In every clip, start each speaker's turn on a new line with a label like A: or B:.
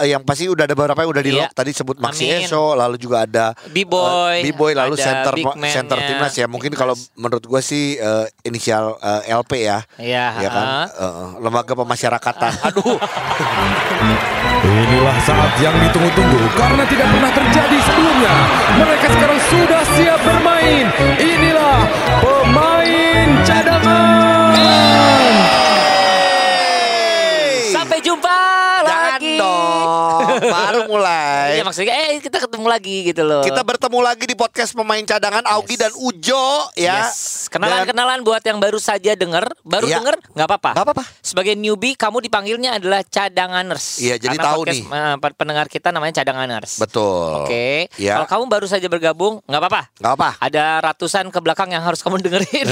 A: eh, yang pasti udah ada beberapa yang udah di
B: Iya.
A: lock tadi sebut Maxi
B: Amin.
A: Eso lalu juga ada
B: B-boy,
A: eh, B-boy lalu
B: ada
A: center
B: big man-nya,
A: center timnas ya. Mungkin
B: timnas.
A: kalau menurut gua sih eh, inisial eh, LP ya.
B: Iya,
A: Ya kan?
B: ha-ha.
A: Eh, eh, lembaga pemasyarakatan. Aduh.
C: Inilah saat yang ditunggu-tunggu karena tidak pernah terjadi sebelumnya. Mereka sekarang sudah siap bermain. Inilah pemain cadangan.
B: Sampai jumpa
A: Jangan
B: lagi.
A: dong. Baru mulai.
B: Iya maksudnya eh kita ketemu lagi gitu loh.
A: Kita bertemu lagi di podcast pemain cadangan Augie dan Ujo ya.
B: Yes.
A: Dan-
B: Kenalan-kenalan buat yang baru saja denger, baru
A: Iya.
B: denger nggak apa-apa.
A: Nggak apa-apa.
B: Sebagai newbie kamu dipanggilnya adalah cadanganers.
A: Iya, jadi
B: Karena
A: tahu
B: podcast,
A: nih.
B: eh, pen- pendengar kita namanya cadanganers.
A: Betul.
B: Oke.
A: Ya.
B: Kalau kamu baru saja bergabung nggak apa-apa.
A: Nggak apa.
B: Ada ratusan ke belakang yang harus kamu dengerin.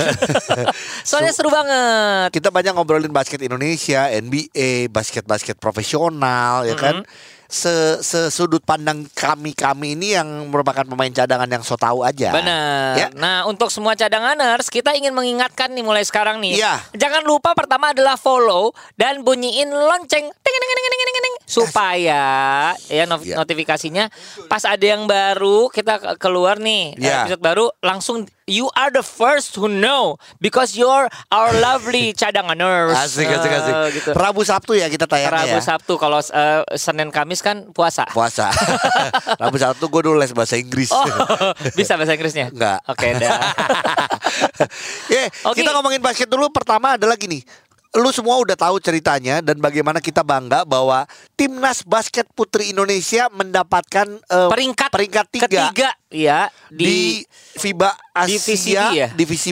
B: Soalnya seru banget.
A: Kita banyak ngobrolin basket Indonesia, NBA, basket-basket profesional ya kan. Se Sesudut pandang kami-kami ini yang merupakan pemain cadangan yang so tahu aja.
B: Benar.
A: Ya.
B: Nah, untuk semua cadanganers, kita ingin mengingatkan nih mulai sekarang nih.
A: Iya.
B: Jangan lupa pertama adalah follow dan bunyiin lonceng. Ting, ting, ting, ting, ting, ting, ting. supaya ya no-
A: Iya.
B: notifikasinya pas ada yang baru kita ke- keluar nih eh,
A: Iya.
B: episode baru langsung you are the first who know because you're our lovely cadanganers.
A: Asik, asik, asik.
B: Eh, gitu.
A: Rabu Sabtu ya kita tayangnya
B: Rabu
A: ya.
B: Sabtu kalau eh, Senin Kamis kan puasa.
A: Puasa. Rabu Sabtu gue dulu les bahasa Inggris.
B: Oh, bisa bahasa Inggrisnya?
A: Nggak.
B: Oke, dah.
A: Ya,
B: Oke.
A: kita ngomongin basket dulu. Pertama adalah gini. Lu semua udah tahu ceritanya dan bagaimana kita bangga bahwa timnas basket putri Indonesia mendapatkan eh,
B: peringkat
A: peringkat tiga
B: ketiga ya
A: di,
B: di
A: FIBA Asia divisi,
B: divisi B ya?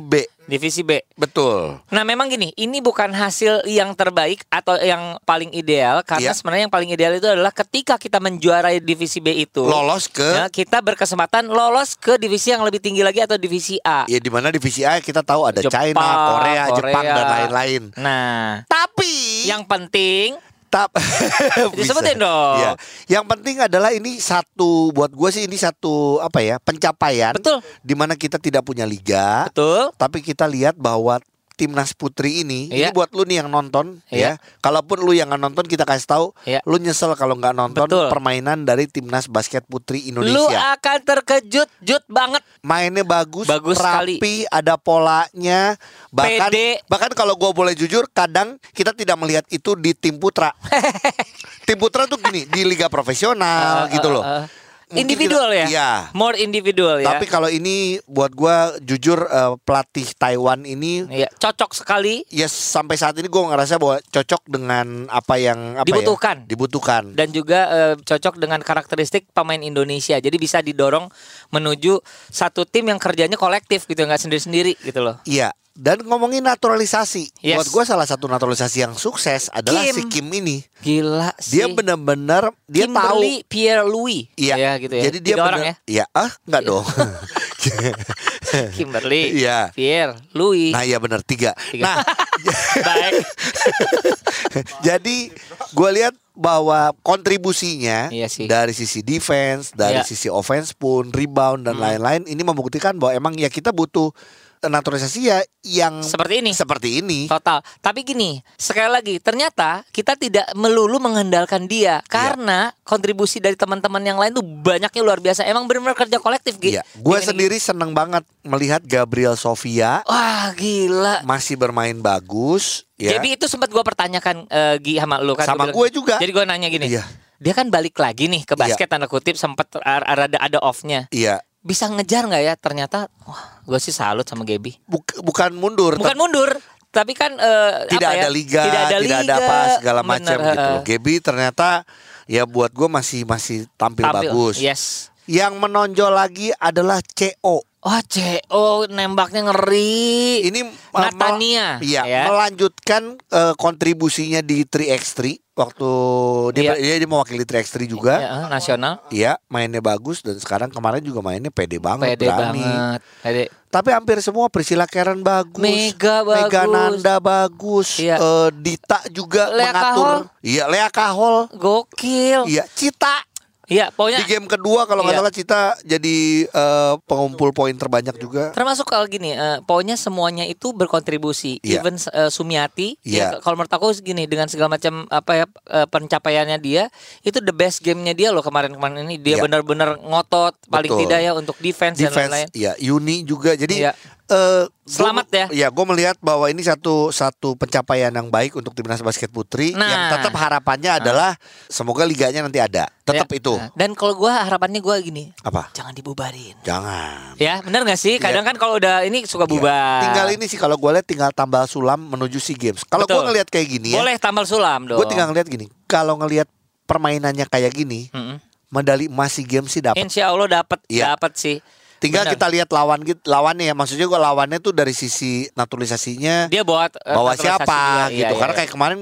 A: B.
B: divisi B.
A: Betul.
B: Nah, memang gini, ini bukan hasil yang terbaik atau yang paling ideal karena
A: Iya.
B: sebenarnya yang paling ideal itu adalah ketika kita menjuarai divisi B itu
A: Lolos
B: ya,
A: ke
B: kita berkesempatan lolos ke divisi yang lebih tinggi lagi atau divisi A.
A: ya di mana divisi A kita tahu ada
B: Jepang,
A: China, Korea, Jepang
B: Korea.
A: dan lain-lain.
B: Nah,
A: Tapi
B: yang penting
A: Tap
B: Disebutin
A: Bisa.
B: dong.
A: Iya. Yang penting adalah ini satu buat gue sih ini satu apa ya pencapaian.
B: Betul.
A: Di mana kita tidak punya liga,
B: betul
A: tapi kita lihat bahwa timnas putri ini, ini
B: Iya.
A: buat lu nih yang nonton ya.
B: Iya.
A: Kalaupun lu yang nggak nonton kita kasih tahu,
B: Iya.
A: lu nyesel kalau nggak nonton
B: Betul.
A: permainan dari timnas basket putri
B: lu
A: Indonesia.
B: akan terkejut jut banget.
A: Mainnya bagus,
B: Bagus
A: rapi, ada polanya. Bahkan
B: Pede.
A: bahkan kalau gue boleh jujur, kadang kita tidak melihat itu di tim putra. tim putra tuh gini di liga profesional
B: Eh,
A: gitu
B: eh,
A: loh.
B: eh.
A: Mungkin
B: Individual
A: kita-
B: ya.
A: Iya.
B: More individual ya.
A: Tapi kalau ini buat gua jujur eh, pelatih Taiwan ini
B: Iya, cocok sekali
A: ya sampai saat ini gua ngerasa bahwa cocok dengan apa yang apa ya,
B: Dibutuhkan.
A: dibutuhkan.
B: dan juga eh, cocok dengan karakteristik pemain Indonesia. Jadi bisa didorong menuju satu tim yang kerjanya kolektif gitu, nggak sendiri-sendiri gitu loh.
A: Iya. Dan ngomongin naturalisasi,
B: Yes.
A: buat gua salah satu naturalisasi yang sukses adalah
B: Kim.
A: si Kim ini.
B: Gila sih.
A: Dia benar-benar dia tahu
B: Kimberly Pierre Louis.
A: Iya,
B: Ya, gitu ya.
A: Jadi dia
B: Tiga orang ya.
A: bener- Iya, ah, enggak dong.
B: Kimberly,
A: Iya.
B: Pierre Louis.
A: nah, iya benar tiga.
B: Tiga.
A: Nah,
B: Baik.
A: jadi gue lihat bahwa kontribusinya
B: Iya sih.
A: dari sisi defense, dari
B: Iya. Hmm.
A: sisi offense pun rebound dan lain-lain ini membuktikan bahwa emang ya kita butuh eh, naturalisasi ya yang
B: Seperti ini.
A: Seperti ini.
B: Total. Tapi gini, sekali lagi, ternyata kita tidak melulu mengandalkan dia
A: Iya.
B: karena kontribusi dari teman-teman yang lain tuh banyaknya luar biasa. Emang benar-benar kerja kolektif gitu.
A: Iya, gue sendiri seneng banget melihat Gabriel Sofia
B: Wah, gila.
A: masih bermain bagus. Ya.
B: Jadi itu sempat gua pertanyakan eh, Gi sama lu kan.
A: Sama
B: bilang-
A: gue juga.
B: Jadi gua nanya gini.
A: Iya.
B: Dia kan balik lagi nih ke
A: Iya.
B: basket tanda kutip sempat ada ada off-nya.
A: iya,
B: Bisa ngejar nggak ya? Ternyata wah, gua sih salut sama Gaby.
A: Buk- bukan mundur,
B: Bukan mundur, tapi kan eh,
A: tidak
B: apa ya,
A: ada liga,
B: tidak ada, liga,
A: apa segala macam
B: Bener,
A: gitu.
B: eh,
A: Gaby ternyata ya buat gue masih masih tampil,
B: tampil. iya.
A: bagus.
B: Yes.
A: Yang menonjol lagi adalah CO.
B: Wah, CO nembaknya ngeri.
A: Ini eh, mel-
B: Iya. Natania,
A: iya,
B: ya.
A: melanjutkan eh, kontribusinya di 3x3 waktu dia
B: Iya.
A: dia, dia mewakili 3x3 juga.
B: Ya, eh, nasional.
A: Iya, mainnya bagus dan sekarang kemarin juga mainnya pede banget,
B: Pede
A: berani.
B: banget. Pede.
A: Tapi hampir semua Priscilla Karen bagus,
B: Mega
A: Mega
B: bagus.
A: Nanda bagus,
B: Iya.
A: eh, Dita juga
B: Lea
A: mengatur.
B: Kahol.
A: Iya, Lea Kahol.
B: Gokil.
A: Iya, Cita
B: Iya, pokoknya
A: Di game kedua kalau nggak
B: Iya.
A: salah Cita jadi eh, pengumpul poin terbanyak juga.
B: Termasuk kalau gini, eh, pokoknya semuanya itu berkontribusi.
A: Iya.
B: Even eh, Sumiati,
A: Iya.
B: ya, kalau menurut aku gini dengan segala macam apa ya eh, pencapaiannya dia, itu the best gamenya dia loh kemarin-kemarin ini. Dia
A: Iya.
B: benar-benar ngotot, paling
A: Betul.
B: tidak ya untuk defense, dan lain-lain.
A: Defense, ya Uni juga. Jadi
B: Iya.
A: eh, gua-
B: Selamat ya.
A: Iya, gue melihat bahwa ini satu satu pencapaian yang baik untuk timnas basket putri.
B: Nah.
A: Yang tetap harapannya adalah semoga liganya nanti ada. Tetap
B: Ya.
A: itu
B: Nah, Dan kalau gua harapannya gua gini,
A: apa?
B: jangan dibubarin.
A: Jangan.
B: Ya, benar gak sih? Kadang kan kalau udah ini
A: Iya.
B: suka bubar.
A: Tinggal ini sih kalau gue lihat tinggal tambal sulam menuju SEA Games. Kalau gue
B: Betul.
A: ngelihat kayak gini ya,
B: Boleh tambal sulam dong.
A: gue tinggal ngelihat gini. Kalau ngelihat permainannya kayak gini,
B: Mm-mm.
A: medali emas SEA Games sih dapat.
B: Insya Allah dapat
A: Iya.
B: dapat sih.
A: Tinggal
B: Benar.
A: kita lihat lawan git- lawannya ya. Maksudnya gue lawannya tuh dari sisi naturalisasinya
B: dia bawa eh,
A: bawa
B: naturalisasi
A: siapa
B: dia. Iya,
A: gitu.
B: iya,
A: Karena
B: iya.
A: kayak kemarin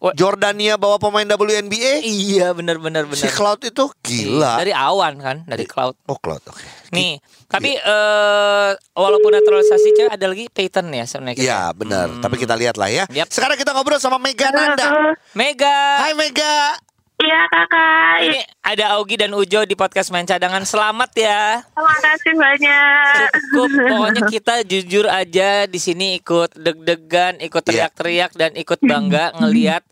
B: Wah.
A: Jordania bawa pemain WNBA,
B: Iya benar-benar benar. Iya,
A: si Cloud itu gila.
B: Dari awan kan, dari cloud.
A: Oh Cloud, oke.
B: Nih, tapi
A: Iya.
B: eh walaupun naturalisasi cewek ada lagi Peyton ya sebenarnya. kita.
A: Iya benar.
B: hmm.
A: Tapi kita lihat lah ya.
B: Yap.
A: Sekarang kita ngobrol sama Mega Nanda.
B: Mega.
A: Hai Mega.
D: Iya kakak,
B: Ini ada Augie dan Ujo di podcast main cadangan. Selamat ya.
D: terima kasih banyak.
B: Cukup pokoknya kita jujur aja di sini ikut deg-degan, ikut
A: Iya.
B: teriak-teriak dan ikut bangga ngelihat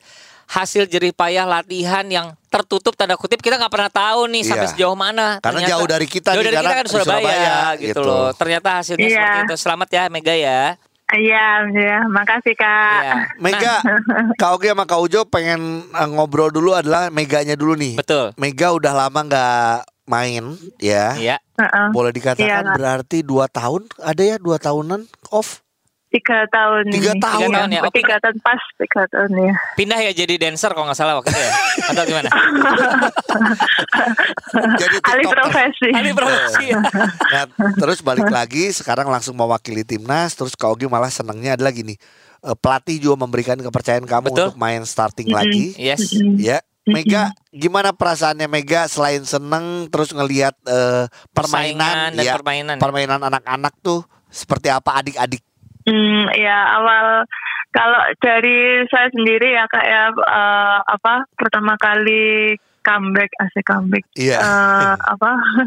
B: hasil jerih payah latihan yang tertutup tanda kutip kita nggak pernah tahu nih sampai
A: Iya.
B: sejauh mana
A: Karena jauh dari kita
B: jauh
A: nih,
B: dari kita
A: karena
B: kan Surabaya,
A: Surabaya, gitu.
B: gitu loh ternyata hasilnya
D: Iya.
B: seperti itu selamat ya Mega ya
D: Iya, ya, makasih kak.
B: Iya.
A: Mega,
B: Nah.
A: Kak Ogi sama Kak Ujo pengen eh, ngobrol dulu adalah Meganya dulu nih.
B: betul
A: Mega udah lama nggak main ya.
B: Iya
D: Heeh.
A: Boleh dikatakan
D: Iya, Kak.
A: berarti dua tahun ada ya dua tahunan off.
D: Tiga tahun.
A: Tiga
D: ini.
A: tahun.
D: Iya,
B: Tiga tahun ya, oke.
D: Tiga tahun pas, tiga tahun ya.
B: pindah ya jadi dancer kalau nggak salah waktu itu ya atau gimana
A: Jadi
D: Alih
A: TikToker.
D: profesi.
B: Alih profesi
A: Nah, terus balik lagi sekarang langsung mewakili timnas terus Kak Ogi malah senangnya adalah gini. eh, pelatih juga memberikan kepercayaan kamu
B: Betul.
A: untuk main starting lagi.
B: yes
A: Ya. Mega gimana perasaannya Mega selain seneng terus ngelihat eh, permainan
B: Persaingan dan
A: ya,
B: permainan
A: permainan anak-anak tuh seperti apa adik-adik
D: Hmm, ya awal kalau dari saya sendiri ya kak ya eh, apa pertama kali comeback asik comeback
A: Iya.
D: Eh, apa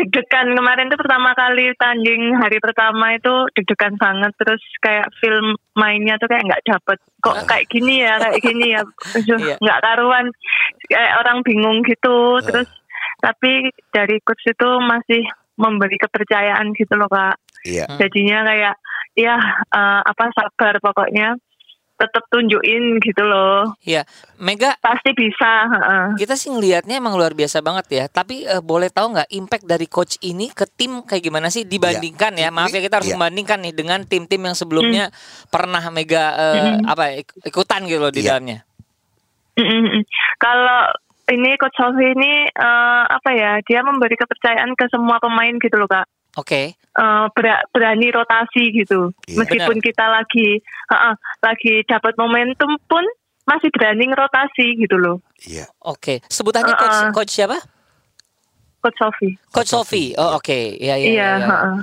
D: deg-degan kemarin tuh pertama kali tanding hari pertama itu deg-degan banget terus kayak film mainnya tuh kayak nggak dapet kok kayak gini ya kayak gini ya Aduh,
B: Iya.
D: nggak karuan kayak orang bingung gitu
A: Eh.
D: terus tapi dari coach itu masih memberi kepercayaan gitu loh kak
A: Iya.
B: Hmm.
D: jadinya kayak ya eh, apa sabar pokoknya tetap tunjukin gitu loh
B: Iya Mega
D: pasti bisa heeh.
B: kita sih ngelihatnya emang luar biasa banget ya tapi eh, boleh tahu nggak impact dari coach ini ke tim kayak gimana sih dibandingkan ya maaf ya kita harus
A: Iya. Hmm.
B: membandingkan nih dengan tim-tim yang sebelumnya pernah Mega eh, apa ik- ikutan gitu loh di
A: Iya.
B: dalamnya
D: Mm-mm. kalau ini coach Sofi ini eh, apa ya dia memberi kepercayaan ke semua pemain gitu loh kak
B: oke
D: Eh, bera- berani rotasi gitu
A: Iya.
D: meskipun kita lagi heeh, lagi dapat momentum pun masih berani rotasi gitu loh
A: Iya.
B: Oke, sebutannya coach,
D: Uh-uh.
B: coach siapa?
D: coach Sofi
B: Coach Sofi. Oh, oke. Iya, iya, iya.
D: iya
B: Ya,
A: uh-uh.
D: heeh.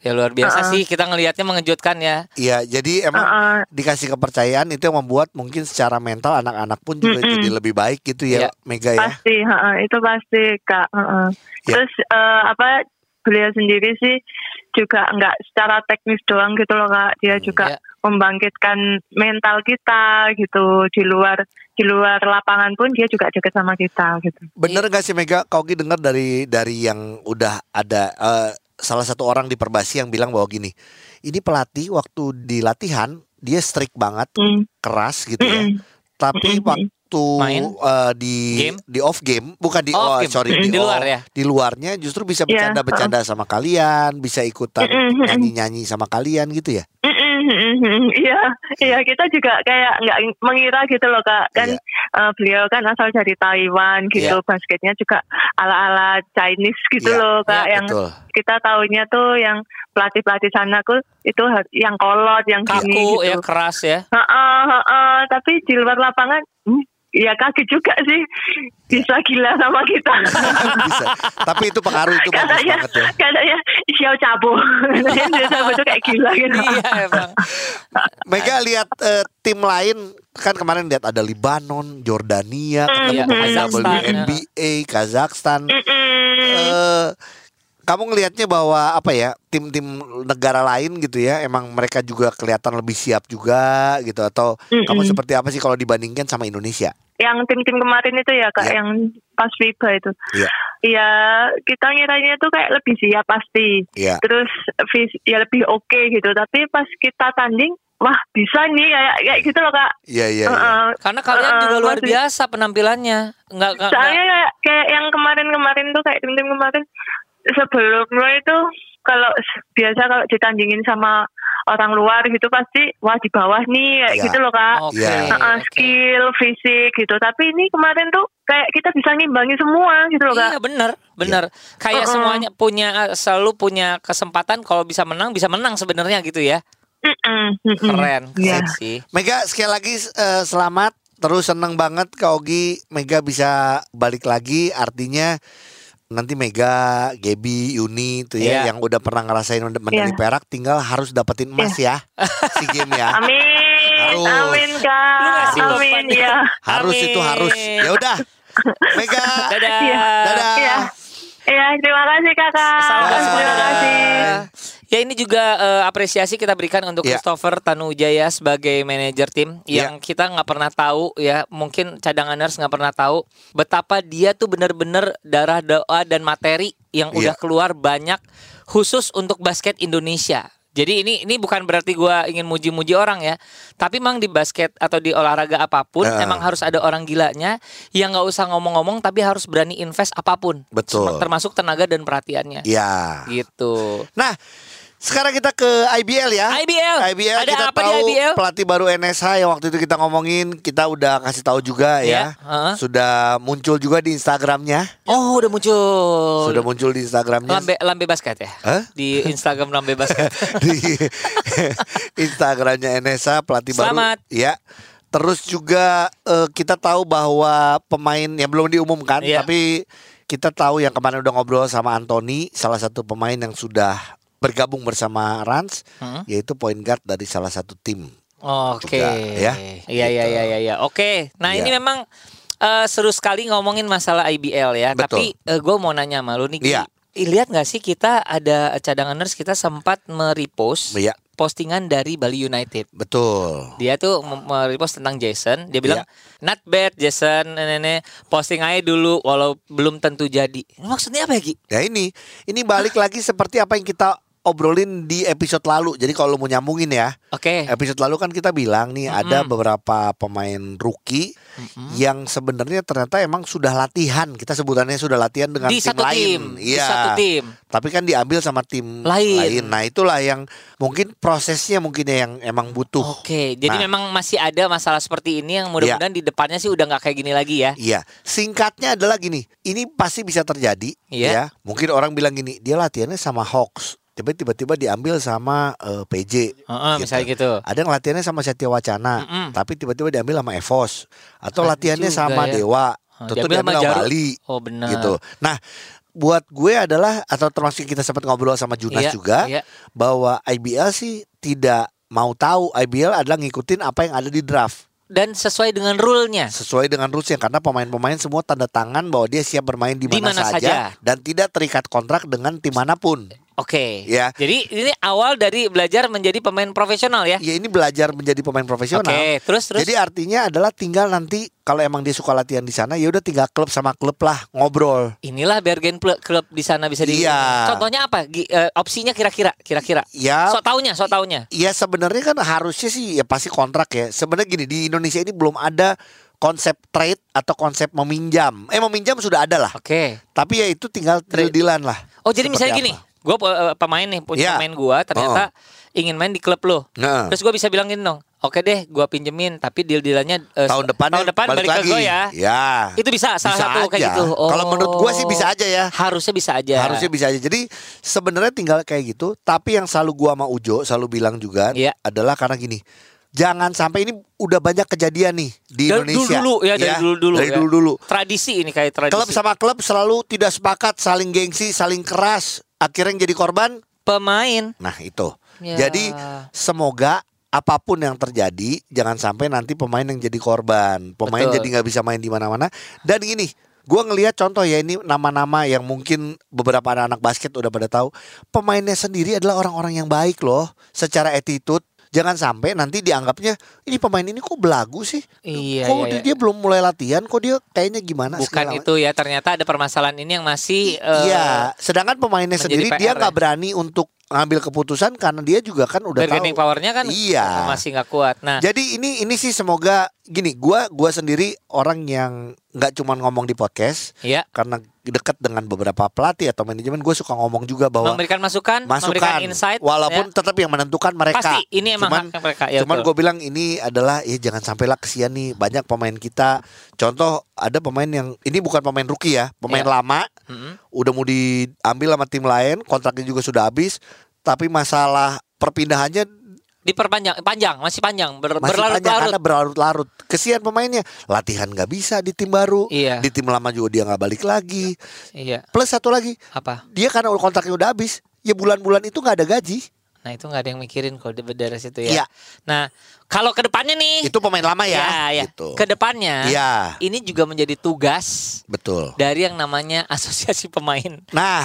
B: Ya, luar biasa sih kita ngelihatnya mengejutkan ya.
A: Iya, jadi emang
D: Heeh.
A: dikasih kepercayaan itu yang membuat mungkin secara mental anak-anak pun juga
D: Mm-mm.
A: jadi lebih baik gitu ya,
B: Iya.
A: Mega ya.
D: pasti ha-ha, itu pasti kak ha-ha.
A: Ya.
D: terus eh, apa beliau sendiri sih juga nggak secara teknis doang gitu loh kak dia juga
B: ya.
D: membangkitkan mental kita gitu di luar di luar lapangan pun dia juga dekat sama kita gitu
A: Bener
B: Iya.
A: gak sih Mega? Kau Gi dengar dari dari yang udah ada eh, salah satu orang di Perbasi yang bilang bahwa gini, ini pelatih waktu di latihan dia strict banget,
D: Mm,
A: keras gitu ya.
D: mm-mm.
A: Tapi
D: Mm-mm.
A: waktu
B: Main?
A: eh, di
B: Game?
A: di off game, bukan di
B: Oh,
A: oh,
B: off game.
A: sorry
B: Mm, di luar
A: off-
B: ya?
A: Di luarnya justru bisa
D: Iya,
A: bercanda-bercanda sama kalian, bisa ikutan
D: Mm-mm, mm-mm.
A: nyanyi-nyanyi sama kalian gitu ya.
D: Mm-mm, mm-mm, mm-mm. Iya, iya kita juga kayak nggak mengira gitu loh kak kan
A: Iya.
D: eh, beliau kan asal dari Taiwan gitu basketnya juga ala-ala Chinese gitu
A: Iya,
D: loh kak
B: iya,
D: yang
A: Betul.
D: kita taunya tuh yang pelatih pelatih sana tuh itu har- yang
A: Iya,
D: kolot yang
B: Kaku
D: gini gitu.
B: ya, keras ya.
D: Heeh, heeh. tapi di luar lapangan hmm, ya kaget juga sih bisa gila sama kita.
A: Bisa. Tapi itu pengaruh itu
B: Iya,
A: bagus
D: katanya
A: banget ya.
D: katanya Xiao Cabo. Katanya Xiao Cabo itu kayak gila gitu.
B: iya emang.
A: Mega lihat eh, tim lain kan kemarin lihat ada Libanon, Jordania, ketemu
B: Iya,
A: pemain
B: Kazakhstan.
A: WNBA, Kazakhstan.
D: Mm-hmm. Mm-mm.
A: Eh, kamu ngelihatnya bahwa apa ya tim-tim negara lain gitu ya emang mereka juga kelihatan lebih siap juga gitu atau kamu
D: Mm-mm.
A: seperti apa sih kalau dibandingkan sama Indonesia?
D: yang tim-tim kemarin itu ya kak
A: Iya.
D: yang pas FIBA itu
A: Iya.
D: Iya, kita ngiranya tuh kayak lebih siap pasti
A: Iya.
D: terus vis- ya lebih oke gitu tapi pas kita tanding wah bisa nih kayak kayak gitu loh kak
A: Iya iya. iya.
D: Heeh.
B: Karena kalian
D: Heeh,
B: juga luar
D: masih-
B: biasa penampilannya. Enggak enggak.
D: soalnya kayak, kayak yang kemarin-kemarin tuh kayak tim-tim kemarin sebelumnya itu kalau s- biasa kalau ditandingin sama orang luar gitu pasti wah di bawah nih kayak
A: Iya.
D: gitu loh kak
B: Oke.
A: Iya.
D: Heeh,
B: oke.
D: skill fisik gitu tapi ini kemarin tuh kayak kita bisa ngimbangi semua gitu loh kak
B: Iya benar, benar. Kayak
D: Heeh.
B: semuanya punya eh, selalu punya kesempatan kalau bisa menang bisa menang sebenarnya gitu ya.
D: Mm-mm, mm-mm.
B: Keren,
D: Iya.
B: keren sih.
A: Mega sekali lagi eh, selamat terus seneng banget Kak Ogi Mega bisa balik lagi artinya nanti Mega, Gebi, Yuni itu ya
B: Iya.
A: yang udah pernah ngerasain medali
D: Iya.
A: perak tinggal harus dapetin emas ya si game ya
D: Amin,
A: Harus.
D: amin kak,
B: Lu ngasih
D: amin
B: jawabannya.
D: ya.
A: harus
B: Amin.
A: itu harus ya udah Mega
B: Dadah.
D: Iya.
A: dadah
D: Iya, iya terima kasih kakak.
B: Salam semua,
D: Terima
B: dadah.
D: kasih.
B: Ya ini juga eh, apresiasi kita berikan untuk
A: Ya.
B: Christopher Tanujaya sebagai manajer tim
A: Ya.
B: yang kita nggak pernah tahu ya mungkin cadanganers nggak pernah tahu betapa dia tuh benar-benar darah doa dan materi yang
A: Iya.
B: udah keluar banyak khusus untuk basket Indonesia. Jadi ini ini bukan berarti gua ingin muji-muji orang ya, tapi emang di basket atau di olahraga apapun
A: Heeh.
B: emang harus ada orang gilanya yang nggak usah ngomong-ngomong tapi harus berani invest apapun,
A: Betul.
B: termasuk tenaga dan perhatiannya
A: ya
B: gitu.
A: nah sekarang kita ke IBL ya
B: IBL.
A: IBL
B: Ada
A: kita
B: apa di
A: tahu
B: IBL?
A: pelatih baru NSH yang waktu itu kita ngomongin kita udah kasih tahu juga ya
B: Iya, heeh.
A: sudah muncul juga di Instagramnya
B: Oh, udah muncul.
A: sudah muncul di Instagramnya
B: Lambe Lambe basket ya?
A: Hah?
B: Di Instagram Lambe basket.
A: di Instagramnya NSA pelatih
B: Selamat.
A: baru ya terus juga eh, kita tahu bahwa pemain yang belum diumumkan
B: Iya.
A: tapi kita tahu yang kemarin udah ngobrol sama Anthony salah satu pemain yang sudah bergabung bersama Rans
B: Hmm.
A: yaitu point guard dari salah satu tim
B: Oke.
A: Juga, ya.
B: Iya, iya,
A: Gitu.
B: iya, iya, iya. Oke. Nah,
A: Iya.
B: ini memang eh, seru sekali ngomongin masalah IBL ya,
A: Betul.
B: tapi gue mau nanya sama lu nih. Ki.
A: Iya.
B: Ih, Lihat gak sih kita ada cadanganers kita sempat merepost
A: Iya.
B: postingan dari Bali United.
A: betul
B: Dia tuh mem- merepost tentang Jason.
A: Iya.
B: Dia bilang not bad Jason, nenek posting aja dulu walau belum tentu jadi. Maksudnya apa ya Ki?
A: ya ini ini balik lagi seperti apa yang kita obrolin di episode lalu jadi kalau mau nyambungin ya
B: Oke.
A: episode lalu kan kita bilang nih ada
B: Eh. Mm-mm.
A: beberapa pemain rookie yang sebenarnya ternyata emang sudah latihan kita sebutannya sudah latihan dengan
B: di
A: tim
B: satu tim,
A: lain Iya.
B: di satu tim.
A: tapi kan diambil sama tim
B: Lain.
A: nah itulah yang mungkin prosesnya mungkin ya yang emang butuh
B: Oke, jadi
A: Nah.
B: memang masih ada masalah seperti ini yang mudah-mudahan di depannya sih udah nggak kayak gini lagi ya.
A: Iya, singkatnya adalah gini. Ini pasti bisa terjadi,
B: Iya.
A: ya. Mungkin orang bilang gini, dia latihannya sama Hawks, tapi tiba-tiba diambil sama eh, PJ.
B: Heeh, misalnya gitu.
A: Ada yang latihannya sama Satya Wacana,
B: Mm-mm.
A: tapi tiba-tiba diambil sama Evos. Atau
B: Ada
A: latihannya
B: juga
A: sama
B: ya.
A: Dewa,
B: Oh,
A: tutup
B: diambil sama
A: diambil sama
B: Jaru.
A: Bali,
B: Oh benar.
A: gitu. Nah, buat gue adalah atau termasuk kita sempat ngobrol sama Junas
B: Iya,
A: juga
B: iya.
A: bahwa IBL sih tidak mau tahu IBL adalah ngikutin apa yang ada di draft
B: Dan sesuai dengan rule-nya.
A: sesuai dengan rules yang karena pemain-pemain semua tanda tangan bahwa dia siap bermain di
B: Di
A: mana
B: mana
A: saja,
B: saja. Eh.
A: dan tidak terikat kontrak dengan tim manapun.
B: Oke.
A: Iya.
B: Jadi ini awal dari belajar menjadi pemain profesional ya.
A: Ya ini belajar menjadi pemain profesional.
B: Oke, terus terus.
A: Jadi artinya adalah tinggal nanti kalau emang dia suka latihan di sana ya udah tinggal klub sama klub lah ngobrol.
B: Inilah bergen pl- klub di sana bisa di.
A: Iya.
B: Contohnya apa? Gi- eh, opsinya kira-kira, kira-kira.
A: Ya
B: So taunya, so taunya.
A: ya sebenarnya kan harusnya sih ya pasti kontrak ya. Sebenarnya gini di Indonesia ini belum ada konsep trade atau konsep meminjam. Eh meminjam sudah ada lah.
B: Oke.
A: Tapi ya itu tinggal deal-dealan lah.
B: Oh jadi
A: Seperti
B: misalnya gini,
A: apa.
B: gue pemain nih, punya
A: Iya. Oh.
B: pemain gue ternyata ingin main di klub lo,
A: Nah.
B: terus gue bisa bilang gini dong, oke deh, gue pinjemin, tapi deal dealannya
A: tahun depan
B: tahun depan balik, ke
A: lagi. Iya.
B: gue ya. Itu bisa salah satu kayak
A: aja.
B: gitu. Oh.
A: Kalau menurut gue sih bisa aja ya.
B: Harusnya bisa aja.
A: Harusnya bisa aja. Jadi sebenarnya tinggal kayak gitu. Tapi yang selalu gua sama Ujo selalu bilang juga
B: Iya.
A: adalah karena gini. jangan sampai ini udah banyak kejadian nih di
B: Dari
A: Indonesia. Iya,
B: dulu ya dari dulu dulu
A: Dari
B: ya.
A: dulu dulu.
B: Tradisi ini kayak tradisi.
A: Klub sama klub selalu tidak sepakat, saling gengsi, saling keras, akhirnya yang jadi korban.
B: pemain.
A: Nah, itu.
B: Ya.
A: Jadi semoga apapun yang terjadi jangan sampai nanti pemain yang jadi korban. Pemain
B: Betul.
A: jadi nggak bisa main di mana-mana. Dan gini, gua ngelihat contoh ya ini nama-nama yang mungkin beberapa anak-anak basket udah pada tahu. Pemainnya sendiri adalah orang-orang yang baik loh secara attitude. Jangan sampai nanti dianggapnya ini pemain ini kok belagu sih?
B: Iya,
A: Kok
B: iya,
A: dia,
B: iya.
A: dia belum mulai latihan kok dia kayaknya gimana Nah,
B: Bukan
A: segala
B: itu ya, ternyata ada permasalahan ini yang masih eh,
A: Iya, sedangkan pemainnya
B: menjadi
A: sendiri dia
B: PR ya.
A: nggak berani untuk ngambil keputusan karena dia juga kan udah
B: bargaining
A: tahu.
B: powernya kan
A: Iya.
B: masih nggak kuat. Nah,
A: Jadi ini ini sih semoga gini, gua gua sendiri orang yang nggak cuma ngomong di podcast
B: ya
A: karena dekat dengan beberapa pelatih atau manajemen, gue suka ngomong juga bahwa
B: memberikan masukan,
A: masukan
B: memberikan insight
A: walaupun
B: ya.
A: tetap yang menentukan mereka.
B: pasti ini
A: cuman
B: emang hak mereka ya.
A: Cuman
B: betul.
A: gue bilang ini adalah ya jangan sampailah kesian nih banyak pemain kita. Contoh ada pemain yang ini bukan pemain rookie ya, pemain
B: Iya.
A: lama
B: Mm-mm.
A: udah mau diambil sama tim lain, kontraknya juga sudah habis, tapi masalah perpindahannya
B: diperpanjang panjang, masih panjang, ber-
A: masih panjang
B: berlarut-larut.
A: karena berlarut-larut. Kesian pemainnya, latihan nggak bisa di tim baru,
B: Iya.
A: di tim lama juga dia nggak balik lagi.
B: Iya,
A: Plus satu lagi,
B: apa?
A: dia karena kontraknya udah habis, ya bulan-bulan itu nggak ada gaji.
B: Nah, itu nggak ada yang mikirin kalau di- dari situ
A: Iya.
B: ya. Nah, kalau ke depannya nih.
A: Itu pemain lama ya,
B: ya, ya.
A: gitu.
B: Iya. Ke depannya.
A: Iya.
B: Ini juga menjadi tugas
A: Betul.
B: dari yang namanya asosiasi pemain.
A: Nah,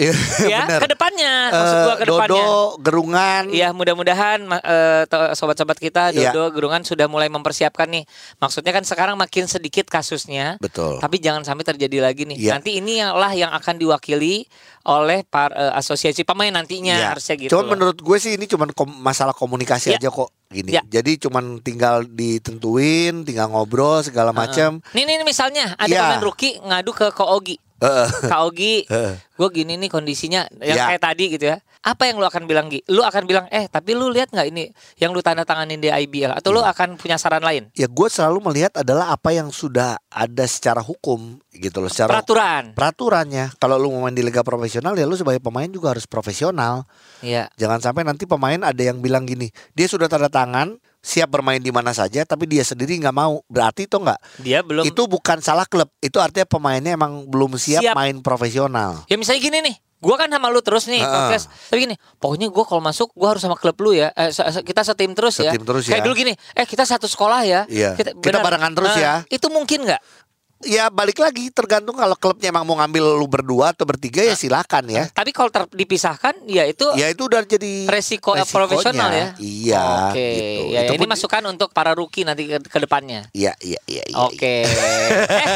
A: iya,
B: ya,
A: bener.
B: ke depannya maksud
A: Eh,
B: gua ke depannya.
A: Dodo, Gerungan,
B: Iya, mudah-mudahan ma- eh, to- sobat-sobat kita
A: Iya.
B: Dodo Gerungan sudah mulai mempersiapkan nih. Maksudnya kan sekarang makin sedikit kasusnya.
A: Betul.
B: Tapi jangan sampai terjadi lagi nih.
A: Iya.
B: Nanti ini yang- lah yang akan diwakili oleh par- eh, asosiasi pemain nantinya
A: Iya.
B: harusnya gitu.
A: Cuman
B: loh.
A: menurut gue sih ini cuman kom- masalah komunikasi
B: Ya.
A: aja kok gini.
B: Ya.
A: Jadi cuman tinggal ditentuin, tinggal ngobrol segala macam.
B: Nih, nih nih, misalnya ada
A: Iya.
B: pemain rookie ngadu ke Koogi.
A: Heeh.
B: Koogi,
A: Heeh.
B: gue gini nih kondisinya yang
A: Iya.
B: kayak tadi gitu ya. Apa yang lu akan bilang Gi? Lu akan bilang eh tapi lu lihat nggak ini yang lu tanda tanganin di IBL atau
A: Iya.
B: lu akan punya saran lain?
A: Ya gue selalu melihat adalah apa yang sudah ada secara hukum gitu loh, secara
B: Peraturan.
A: peraturannya. Kalau lu mau main di liga profesional ya lu sebagai pemain juga harus profesional.
B: Iya.
A: Jangan sampai nanti pemain ada yang bilang gini, dia sudah tanda tangan, siap bermain di mana saja, tapi dia sendiri nggak mau. Berarti itu nggak?
B: Dia belum
A: Itu bukan salah klub. Itu artinya pemainnya emang belum siap,
B: Siap.
A: main profesional.
B: Ya misalnya gini nih, gua kan sama lu terus nih,
A: Heeh.
B: podcast. Tapi gini, pokoknya gua kalau masuk gua harus sama klub lu ya. Eh, se- se- kita setim terus ya.
A: Setim terus ya.
B: Kayak dulu gini, eh kita satu sekolah ya.
A: Iya. Kita
B: benar.
A: barengan terus
B: Eh,
A: ya.
B: Itu mungkin nggak?
A: Ya balik lagi tergantung kalau klubnya emang mau ngambil lu berdua atau bertiga ya silakan ya.
B: Tapi kalau ter- dipisahkan, ya itu
A: Ya itu udah jadi
B: resiko
A: resikonya.
B: profesional ya.
A: Iya.
B: Oke.
A: gitu.
B: Ya,
A: Itu
B: ini
A: pun-
B: masukan untuk para rookie nanti ke, ke depannya.
A: Iya iya iya. iya,
B: Oke. eh,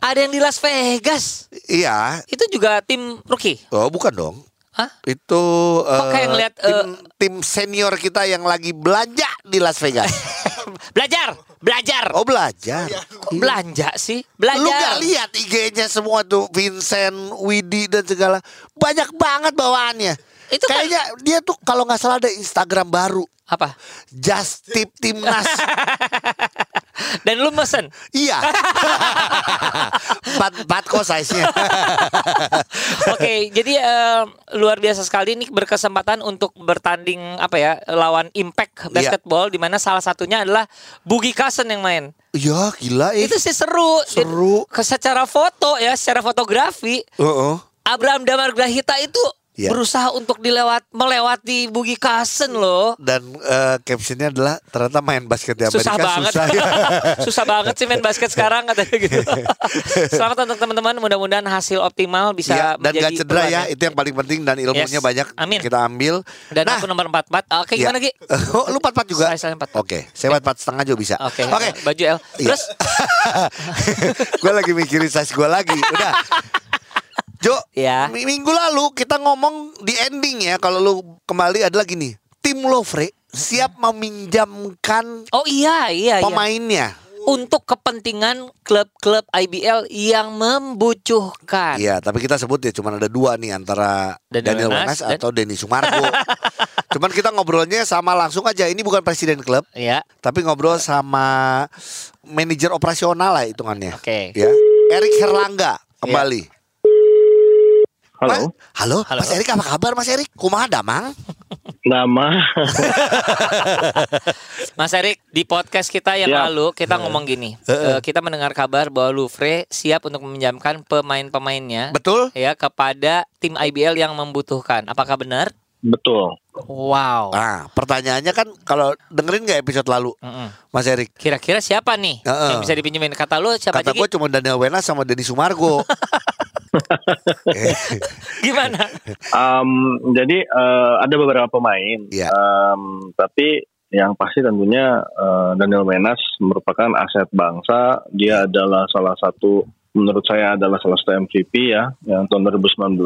B: ada yang di Las Vegas.
A: Iya.
B: Itu juga tim rookie.
A: Oh bukan dong.
B: Hah?
A: Itu eh,
B: kayak ngeliat,
A: tim, tim senior kita yang lagi belanja di Las Vegas.
B: Belajar, belajar.
A: oh belajar.
B: Belanja sih, belajar.
A: Iya. Lu gak lihat IG-nya semua tuh Vincent, Widi dan segala banyak banget bawaannya.
B: Itu kan-
A: kayaknya dia tuh kalau nggak salah ada Instagram baru
B: Apa?
A: Just Tip Timnas.
B: Dan lu mesen.
A: Iya. Bat batko size-nya.
B: Oke, jadi eh, luar biasa sekali ini berkesempatan untuk bertanding apa ya lawan Impact
A: Iya.
B: Basketball di mana salah satunya adalah Bugi Kasen yang main.
A: ya gila eh.
B: Itu sih seru.
A: Seru.
B: Jadi, ke secara foto ya, secara fotografi
A: Heeh.
B: Abraham Damar Grahita itu
A: Iya.
B: berusaha untuk dilewat melewati Bugi Kasen loh.
A: Dan eh, captionnya adalah ternyata main basket di Ya, Amerika
B: Susah
A: susah. Iya,
B: banget, susah banget sih main basket sekarang katanya gitu. Selamat untuk teman-teman, mudah-mudahan hasil optimal bisa
A: Iya, dan gak
B: menjadi
A: cedera ya
B: peluang
A: itu yang paling penting dan ilmunya
B: Yes.
A: banyak
B: Amin.
A: kita ambil.
B: Dan
A: nah,
B: aku nomor 44. Oke,
A: iya.
B: gimana Ki?
A: oh, lu 44 juga.
B: Saya- saya 44.
A: Oke, saya 44 setengah juga bisa.
B: Oke.
A: Oke.
B: Baju L.
A: Iya.
B: Terus
A: gue lagi mikirin size gue lagi. Udah. Jo,
B: Ya.
A: mi- minggu lalu kita ngomong di ending ya kalau lu kembali adalah gini. Tim Lovre siap meminjamkan
B: oh iya iya iya.
A: pemainnya.
B: untuk kepentingan klub-klub IBL yang membucuhkan.
A: Iya, tapi kita sebut ya cuman ada dua nih antara
B: Kan? Daniel
A: Daniel,
B: Wenas
A: Wenas
B: dan-
A: atau Denny Sumargo. cuman kita ngobrolnya sama langsung aja. Ini bukan presiden klub,
B: Ya.
A: tapi ngobrol sama manajer operasional lah hitungannya.
B: Oke. Iya.
A: Ya. Erik Herlangga kembali. Mas-
E: Halo,
A: halo,
B: Halo.
A: Mas Erik apa kabar Mas Erik? Kumaha damang?
E: nama
B: Mas Erik di podcast kita yang
E: Siap.
B: lalu kita ngomong gini, Eh, kita mendengar kabar bahwa Louvre siap untuk meminjamkan pemain-pemainnya
A: Betul?
B: ya kepada tim IBL yang membutuhkan. Apakah benar?
E: betul
B: Wow.
A: Nah, pertanyaannya kan kalau dengerin nggak episode lalu,
B: Mm-mm.
A: Mas Erik?
B: Kira-kira siapa nih
A: Heeh.
B: yang bisa dipinjemin? Kata lu siapa
A: Kata
B: aja?
A: gue
B: Ki?
A: cuma Daniel Wena sama Denny Sumargo. Eh,
B: Gimana?
E: Um, jadi eh, ada beberapa pemain,
A: Iya.
E: Um, tapi yang pasti tentunya eh, Daniel Menas merupakan aset bangsa. Dia adalah salah satu, menurut saya adalah salah satu MVP ya, yang tahun 2019.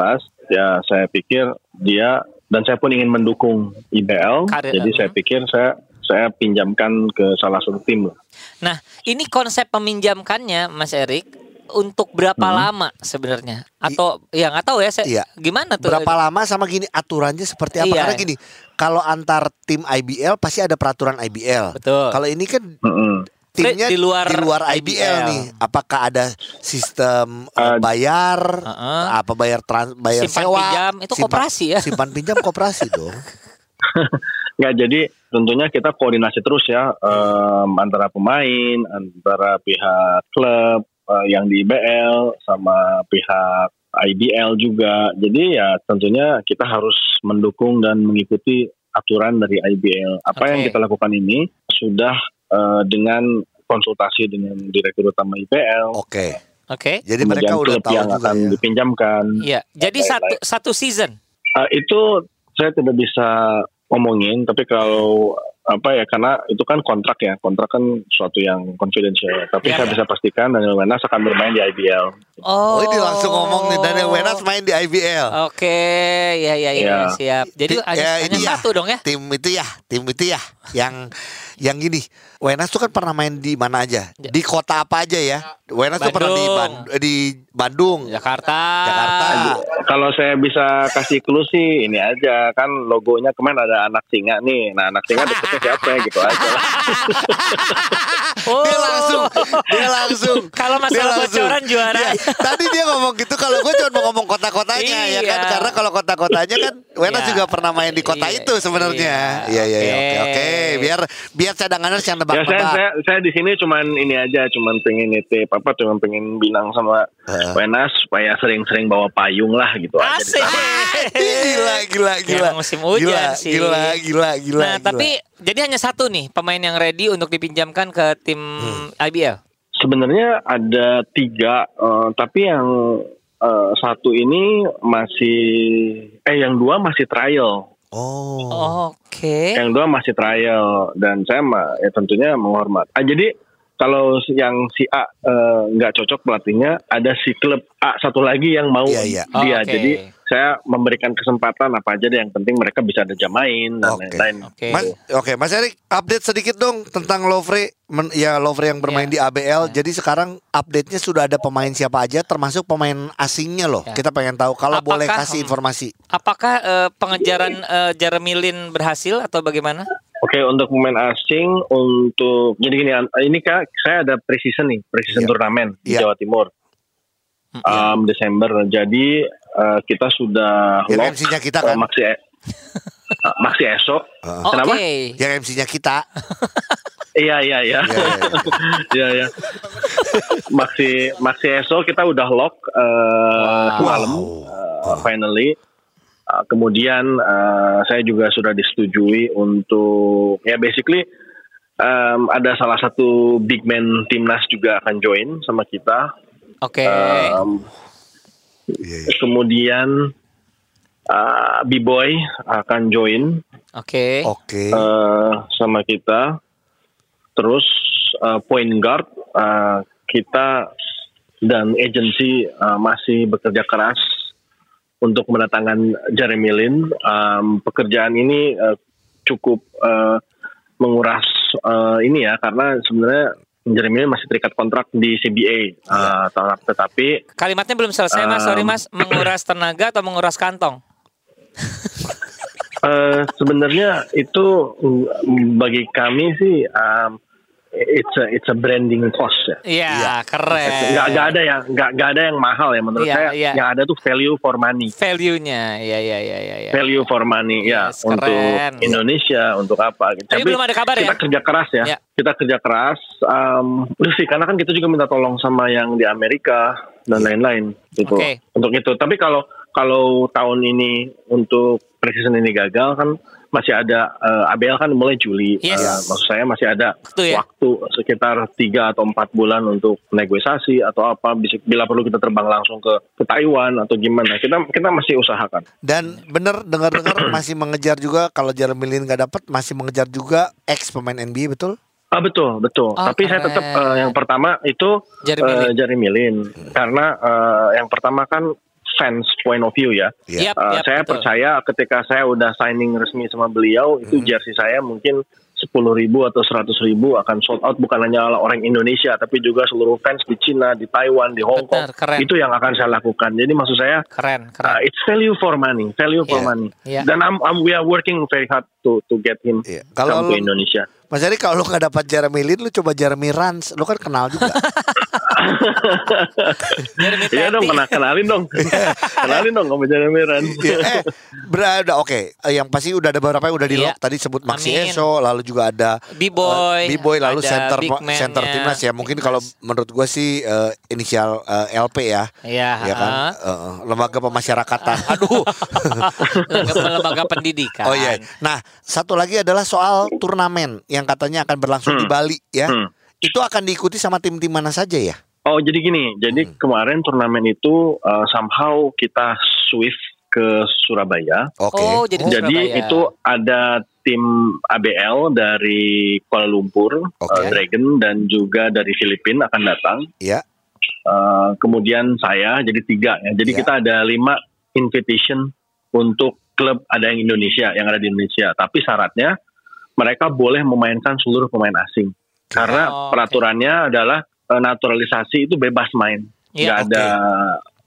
E: Ya saya pikir dia dan saya pun ingin mendukung IBL,
B: Karir,
E: jadi
B: mhm.
E: saya pikir saya saya pinjamkan ke salah satu tim lah.
B: Nah, ini konsep meminjamkannya Mas Erik untuk berapa lama sebenarnya? Atau ya nggak tahu ya saya
A: Hmm. Iya.
B: gimana tuh?
A: Berapa lama sama gini aturannya seperti apa?
B: Iya.
A: Karena gini, kalau antar tim IBL pasti ada peraturan IBL.
B: Betul.
A: Kalau ini kan
E: Mhm.
A: timnya
B: Di luar
A: IBL, nih. Apakah ada sistem eh,
E: Eh,
A: bayar
B: Heeh.
A: apa bayar trans bayar
B: Simpan
A: sewa?
B: pinjam, itu koperasi ya?
A: Simpan pinjam koperasi dong.
E: Nggak, jadi tentunya kita koordinasi terus ya em, antara pemain, antara pihak klub eh, yang di IBL sama pihak IBL juga. Jadi ya tentunya kita harus mendukung dan mengikuti aturan dari IBL. Apa yang
B: Oke.
E: kita lakukan ini sudah eh, dengan konsultasi dengan direktur utama IBL.
A: Oke.
B: Oke.
A: Oh, Jadi mereka
E: kemudian
A: udah
E: klub
A: tahu
E: yang
A: juga
E: akan
A: ya.
E: dipinjamkan.
B: Iya.
A: Hmm.
B: Jadi
E: Baik,
B: satu satu season.
E: Eh, itu saya tidak bisa omongin, tapi kalau apa ya karena itu kan kontrak ya, kontrak kan suatu yang confidential. Tapi
B: Iya,
E: saya
B: iya.
E: bisa pastikan Daniel Wenas akan bermain di IBL.
A: Oh, ini langsung ngomong nih Daniel Wenas main di IBL.
B: Oke, ya ya ya,
E: Ya.
B: siap. Jadi
A: Ti-
B: hanya,
A: ya,
B: hanya
A: ini ya.
B: satu dong ya.
A: Tim itu ya, tim itu ya yang yang gini. Wenas tuh kan pernah main di mana aja? Di kota apa aja ya? Wenas tuh pernah di,
B: Ya. Bandung. Ya. Ah,
A: Ban- di Bandung,
B: Jakarta.
A: Jakarta.
E: Kalau saya bisa kasih clue sih ini aja kan logonya kemarin ada anak singa nih. Nah anak singa deketnya siapa ya gitu aja. lah.
B: Oh.
A: Dia langsung, dia langsung.
B: Kalau
A: dia
B: masalah
A: langsung.
B: bocoran juara.
A: Iya, Tadi dia ngomong gitu kalau gue cuma mau ngomong kota-kotanya ya kan
B: Iya.
A: karena kalau kota-kotanya kan Wenas
B: Iya.
A: juga pernah main di kota
B: Iya,
A: itu sebenarnya.
B: iya.
A: Iya iya iya, oke
B: Oke.
A: oke biar biar cadangannya yang
E: Ya saya,
A: nebak-nebak.
E: saya saya di sini cuman ini aja, cuman pengen nitip apa, cuman pengen bilang sama
A: Heeh.
E: Wenas supaya sering-sering bawa payung lah gitu aja. di
B: Asik.
E: sana.
A: Ah, gila gila
B: Ya,
A: gila.
B: emang musim hujan
A: gila,
B: sih.
A: Gila gila gila.
B: nah,
A: gila.
B: tapi jadi hanya satu nih pemain yang ready untuk dipinjamkan ke tim
A: Hmm.
B: IBL.
E: Sebenarnya ada tiga, eh, tapi yang eh, satu ini masih, eh yang dua masih trial,
A: oh.
B: Oke.
E: yang dua masih trial dan saya mah ya tentunya menghormat. Ah, jadi kalau si- yang si A eh, nggak cocok pelatihnya, ada si klub A satu lagi yang mau
A: Iya, iya.
E: dia.
B: Oh, Oke.
E: Jadi saya memberikan kesempatan apa aja deh, yang penting mereka bisa ada jam main dan
A: Oke.
E: lain-lain.
B: Oke.
A: Mas, oke, Mas Erik, update sedikit dong tentang Lovre, men- ya Lovre yang bermain
B: Ya.
A: di ABL. Jadi sekarang update-nya sudah ada pemain siapa aja, termasuk pemain asingnya loh.
B: Ya.
A: Kita pengen tahu kalau boleh
B: Apakah-
A: kasih informasi.
B: Apakah eh, pengejaran eh, Jeremy Lin berhasil atau bagaimana?
E: Oke untuk pemain asing untuk jadi gini An- ini kak saya ada precision nih precision
A: Iya.
E: turnamen di
A: Iya.
E: Jawa Timur um, Desember jadi uh, kita sudah
A: Yang
E: lock
A: MC-nya kita
E: uh,
A: kan? Ah.
E: Maxi E- uh, Maxi esok
A: Heeh.
B: Oke.
E: Kenapa?
A: Yang MC-nya kita.
E: iya iya iya
A: Iya, iya, iya.
E: iya iya Maxi Maxi esok kita udah lock uh, semalam
A: Wow.
E: uh, finally Uh, kemudian uh, saya juga sudah disetujui untuk ya basically um, ada salah satu big man timnas juga akan join sama kita.
B: Oke.
A: Eh.
E: Um,
A: Iya, iya.
E: kemudian uh, B-boy akan join
B: Oke.
A: Oke.
E: uh, sama kita. Terus uh, point guard uh, kita dan agency uh, masih bekerja keras untuk mendatangkan Jeremy Lin. Um, pekerjaan ini uh, cukup uh, menguras uh, ini ya karena sebenarnya Jeremy Lin masih terikat kontrak di CBA. Uh, tetap- tetapi
B: Kalimatnya belum selesai Mas. Sorry
E: Um,
B: Mas, menguras tenaga atau menguras kantong?
E: Eh, sebenarnya itu mm, bagi kami sih um, it's a it's a branding cost ya.
B: Iya, keren.
E: Nggak, nggak ada yang nggak nggak ada yang mahal ya menurut
B: Iya,
E: saya.
B: iya.
E: Yang ada tuh value for money.
B: Value-nya. Iya, iya, iya, iya. iya.
E: Value for money ya
B: Yes,
E: untuk
B: keren.
E: Indonesia untuk apa? gitu. Tapi,
B: belum ada kabar
E: kita
B: ya?
E: kerja keras ya.
B: Iya.
E: Kita kerja keras. Um, udah sih karena kan kita juga minta tolong sama yang di Amerika dan lain-lain gitu
B: Iya. Oke.
E: untuk itu. Tapi kalau kalau tahun ini untuk precision ini gagal kan masih ada eh, ABL kan mulai Juli.
B: Yes.
E: Eh, maksud saya masih ada
B: Waktu ya?
E: waktu sekitar 3 atau 4 bulan untuk negosiasi atau apa bis- bila perlu kita terbang langsung ke, ke Taiwan atau gimana. Kita kita masih usahakan.
A: Dan bener dengar-dengar masih mengejar juga kalau Jeremy Lin nggak dapat masih mengejar juga ex pemain NBA betul?
E: Ah betul betul.
B: Oh,
E: Tapi saya
B: keren.
E: tetap eh, yang pertama itu
B: Jeremy
E: eh,
B: Lin.
E: Jeremy Lin. karena eh, yang pertama kan fans point of view ya.
A: Iya.
B: Yap,
E: Eh,
B: yap,
E: saya
B: betul.
E: percaya ketika saya udah signing resmi sama beliau itu
A: Hmm.
E: jersey saya mungkin sepuluh ribu atau seratus ribu akan sold out bukan hanya oleh orang Indonesia tapi juga seluruh fans di Cina, di Taiwan, di Hong Kong.
B: Benar, keren.
E: Itu yang akan saya lakukan. Jadi maksud saya
B: Keren, keren. Iya.
E: uh, it's value for money, value for
A: Yeah.
E: money.
B: Yeah.
E: Dan I'm, I'm- we are working very hard to to get him
A: Iya.
E: come
A: Kalau
E: to
A: lu-
E: Indonesia.
A: Mas Eri kalau lu nggak dapat Jeremy Lin lu coba Jeremy Rans, lu kan kenal juga.
B: Jeremy
E: Iya dong,
B: Tati.
E: kena, kenalin dong. kenalin dong kamu Jeremy Ran.
A: Iya, eh, bera- udah oke. Eh, Yang pasti udah ada beberapa yang udah di lock
B: Iya.
A: tadi sebut Maxi
B: Amin.
A: Eso, lalu juga ada
B: B-boy,
A: eh, B-boy lalu
B: ada
A: center
B: big man-nya.
A: center timnas ya. Mungkin kalau menurut gua sih eh, inisial eh, LP ya.
B: Iya,
A: Ya kan?
B: ha.
A: Eh, lembaga pemasyarakatan. Aduh.
B: lembaga, lembaga pendidikan.
A: Oh iya. Nah, satu lagi adalah soal turnamen yang katanya akan berlangsung di Bali ya.
E: Hmm.
A: Itu akan diikuti sama tim-tim mana saja ya?
E: Oh jadi gini, jadi kemarin turnamen itu uh, somehow kita swift ke Surabaya.
A: Oke.
B: Oh, jadi ke
E: jadi
B: Surabaya.
E: itu ada tim ABL dari Kuala Lumpur,
A: Oke.
E: uh, Dragon dan juga dari Filipina akan datang.
A: ya.
E: Uh, kemudian saya jadi tiga ya. Jadi
B: Iya.
A: Ya.
E: kita ada lima invitation untuk klub ada yang Indonesia yang ada di Indonesia. Tapi syaratnya mereka boleh memainkan seluruh pemain asing karena
B: Oh, oke.
E: peraturannya adalah uh, naturalisasi itu bebas main, nggak
B: Iya,
E: ada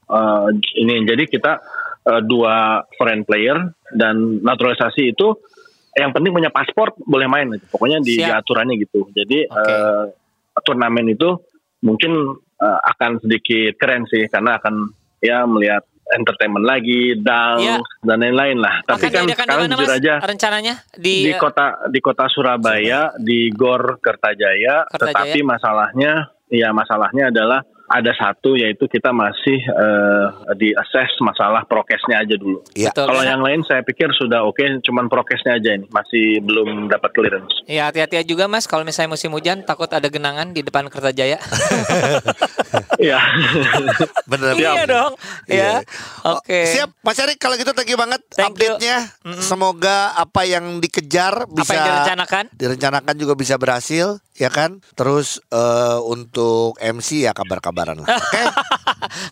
E: uh, ini. Jadi kita uh, dua foreign player dan naturalisasi itu yang penting punya paspor boleh main. Pokoknya di,
B: Siap.
E: di aturannya gitu. Jadi
B: Oke.
E: eh, turnamen itu mungkin eh, akan sedikit keren sih karena akan ya melihat entertainment lagi, dance
B: Iya.
E: dan lain-lain lah.
B: Akan
E: Tapi
B: diadakan
E: kan
B: di
E: sekarang
B: mana,
E: jujur
B: Mas? iya.
E: aja
B: Rencananya
E: di
B: di,
E: kota di kota Surabaya di Gor Kertajaya,
B: Kertajaya.
E: tetapi masalahnya ya masalahnya adalah ada satu yaitu kita masih eh, di assess masalah prokesnya aja dulu.
A: Iya.
B: eh, Betul.
E: Kalau yang lain saya pikir sudah oke, cuman prokesnya aja ini masih belum dapat clearance.
B: Ya hati-hati juga mas kalau misalnya musim hujan takut ada genangan di depan Kertajaya.
E: Iya.
A: Bener.
B: iya dong. Ya.
A: Iya.
B: Oke.
A: Siap, Mas Erik kalau gitu thank you banget
B: Thank you.
A: update-nya. Semoga apa yang dikejar bisa
B: yang direncanakan?
A: Direncanakan juga bisa berhasil, ya kan? Terus eh, untuk MC ya kabar-kabaran lah. Oke.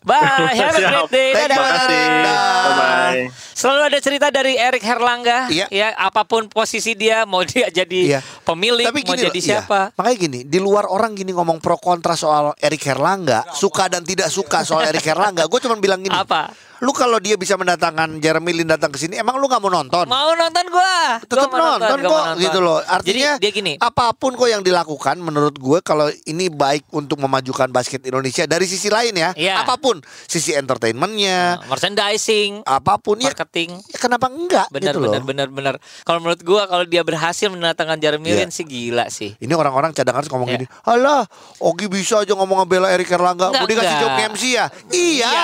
B: Bye. Have a great day.
A: Thank you,
B: Dadah.
E: Terima kasih. Bye bye.
B: Selalu ada cerita dari Erik Herlangga.
A: Iya.
B: Ya apapun posisi dia mau dia jadi
A: Iya.
B: pemilik mau
A: loh,
B: jadi
A: iya.
B: siapa.
A: Makanya gini, di luar orang gini ngomong pro kontra soal Erik Herlangga, suka dan tidak suka soal Erik Herlangga. Gue cuma bilang gini.
B: Apa?
A: Lu kalau dia bisa mendatangkan Jeremy Lin datang ke sini, emang lu nggak mau nonton?
B: Mau nonton gua.
A: tetap
B: Gua mau
A: nonton,
B: gua
A: kok
B: mau nonton.
A: gitu loh. Artinya
B: Jadi dia gini.
A: apapun kok yang dilakukan menurut gue kalau ini baik untuk memajukan basket Indonesia dari sisi lain ya,
B: Iya.
A: apapun sisi entertainmentnya,
B: Oh, merchandising,
A: apapun ya,
B: marketing.
A: ya kenapa enggak
B: Bener,
A: gitu loh.
B: bener, bener, bener. Kalau menurut gua kalau dia berhasil mendatangkan Jeremy
A: Iya.
B: Lin sih gila sih.
A: Ini orang-orang cadangan ngomong
B: Iya.
A: gini, alah Ogi bisa aja ngomong ngebela Erik Erlangga, mau
B: Enggak,
A: dikasih job
B: enggak.
A: MC ya? Iya.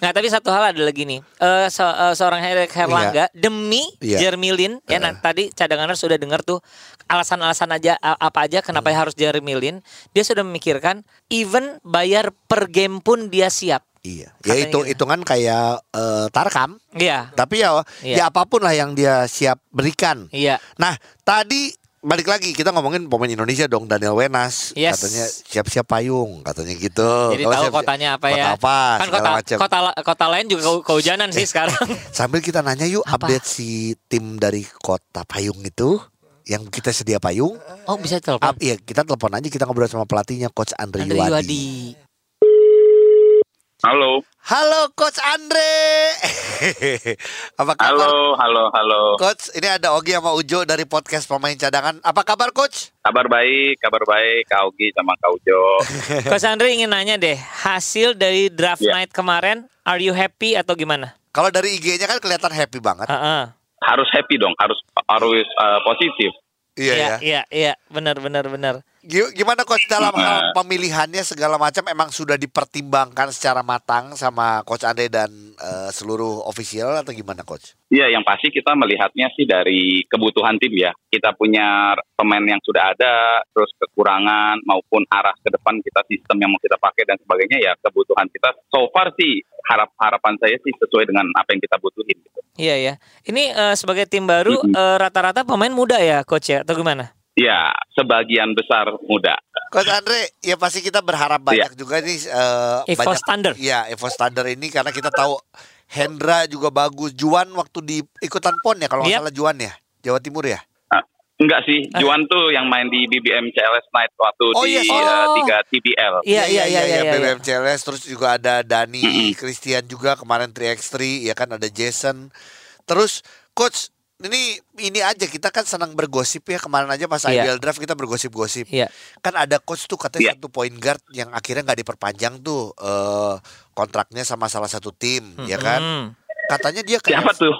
B: nah tapi satu hal ada lagi nih. Eh, se- eh, seorang Erik Herlangga demi
A: Iya.
B: Jeremy Lin. Ya nah, tadi cadanganers sudah dengar tuh alasan-alasan aja a- apa aja kenapa
A: Iya.
B: harus Jeremy Lin. Dia sudah memikirkan even bayar per game pun dia siap.
A: Iya. Ya
B: Katanya
A: itu
B: gitu.
A: hitungan kayak eh, Tarkam,
B: Iya.
A: tapi ya
B: Iya.
A: ya apapun lah yang dia siap berikan.
B: Iya.
A: Nah, tadi balik lagi kita ngomongin pemain Indonesia dong Daniel Wenas
B: Yes.
A: katanya siap-siap payung katanya gitu.
B: Jadi
A: Kalau
B: tahu
A: siap-siap-
B: kotanya apa ya.
A: Kota apa?
B: kan
A: segala
B: kota,
A: macam.
B: kota la- kota lain juga ke- kehujanan sih sekarang.
A: Sambil kita nanya yuk
B: Apa?
A: update si tim dari kota payung itu yang kita sedia payung.
B: Oh bisa
A: Up,
B: telepon.
A: iya, ya kita telepon aja kita ngobrol sama pelatihnya coach Andre,
B: Andri
A: Yuwadi.
B: Yuwadi.
F: Halo,
A: Halo Coach Andre. Apa kabar?
F: halo, halo, halo.
A: Coach, ini ada Ogi sama Ujo dari podcast pemain cadangan. Apa kabar Coach?
F: Kabar baik, kabar baik, Kak Ogi sama Kak Ujo.
B: Coach Andre ingin nanya deh, hasil dari draft
F: Iya.
B: night kemarin, are you happy atau gimana?
A: Kalau dari IG-nya kan kelihatan happy banget.
B: Heeh.
F: harus happy dong, harus harus eh, positif.
A: Iya
B: iya,
A: ya.
B: iya, iya, benar, benar, benar.
A: Gi- Gimana coach dalam hal
F: Nah.
A: pemilihannya segala macam emang sudah dipertimbangkan secara matang sama coach Andre dan eh, seluruh official atau gimana coach?
F: Iya, yang pasti kita melihatnya sih dari kebutuhan tim ya. Kita punya pemain yang sudah ada, terus kekurangan maupun arah ke depan kita sistem yang mau kita pakai dan sebagainya ya kebutuhan kita. So far sih harap harapan saya sih sesuai dengan apa yang kita butuhin. Gitu.
B: Iya, ya. Ini eh, sebagai tim baru
F: Mm-mm.
B: eh, rata-rata pemain muda ya, coach ya, atau gimana?
F: Ya, sebagian besar muda.
A: Coach Andre, ya pasti kita berharap banyak juga nih eh,
B: Evo
A: banyak
B: Standard.
A: Iya, Evo Standard ini karena kita tahu Hendra juga bagus. Juan waktu di ikutan PON ya kalau nggak
B: Yap.
A: salah Juan ya, Jawa Timur ya.
F: Ah, Enggak sih, Juan tuh yang main di BBM CLS Night waktu
A: Oh,
F: di eh,
A: yes.
B: Oh.
F: tiga TBL.
B: Iya, iya, iya, iya, iya.
A: BBM CLS terus juga ada Dani, Christian juga kemarin 3x3 ya kan ada Jason. Terus coach ini ini aja kita kan senang bergosip ya kemarin aja pas
B: Iya.
A: IBL draft kita bergosip-gosip.
B: Iya.
A: Kan ada coach tuh katanya
F: Iya.
A: satu point guard yang akhirnya nggak diperpanjang tuh eh, kontraknya sama salah satu tim
B: Hmm.
A: ya kan.
B: Mm-mm.
A: Katanya dia kayak
F: Siapa tuh?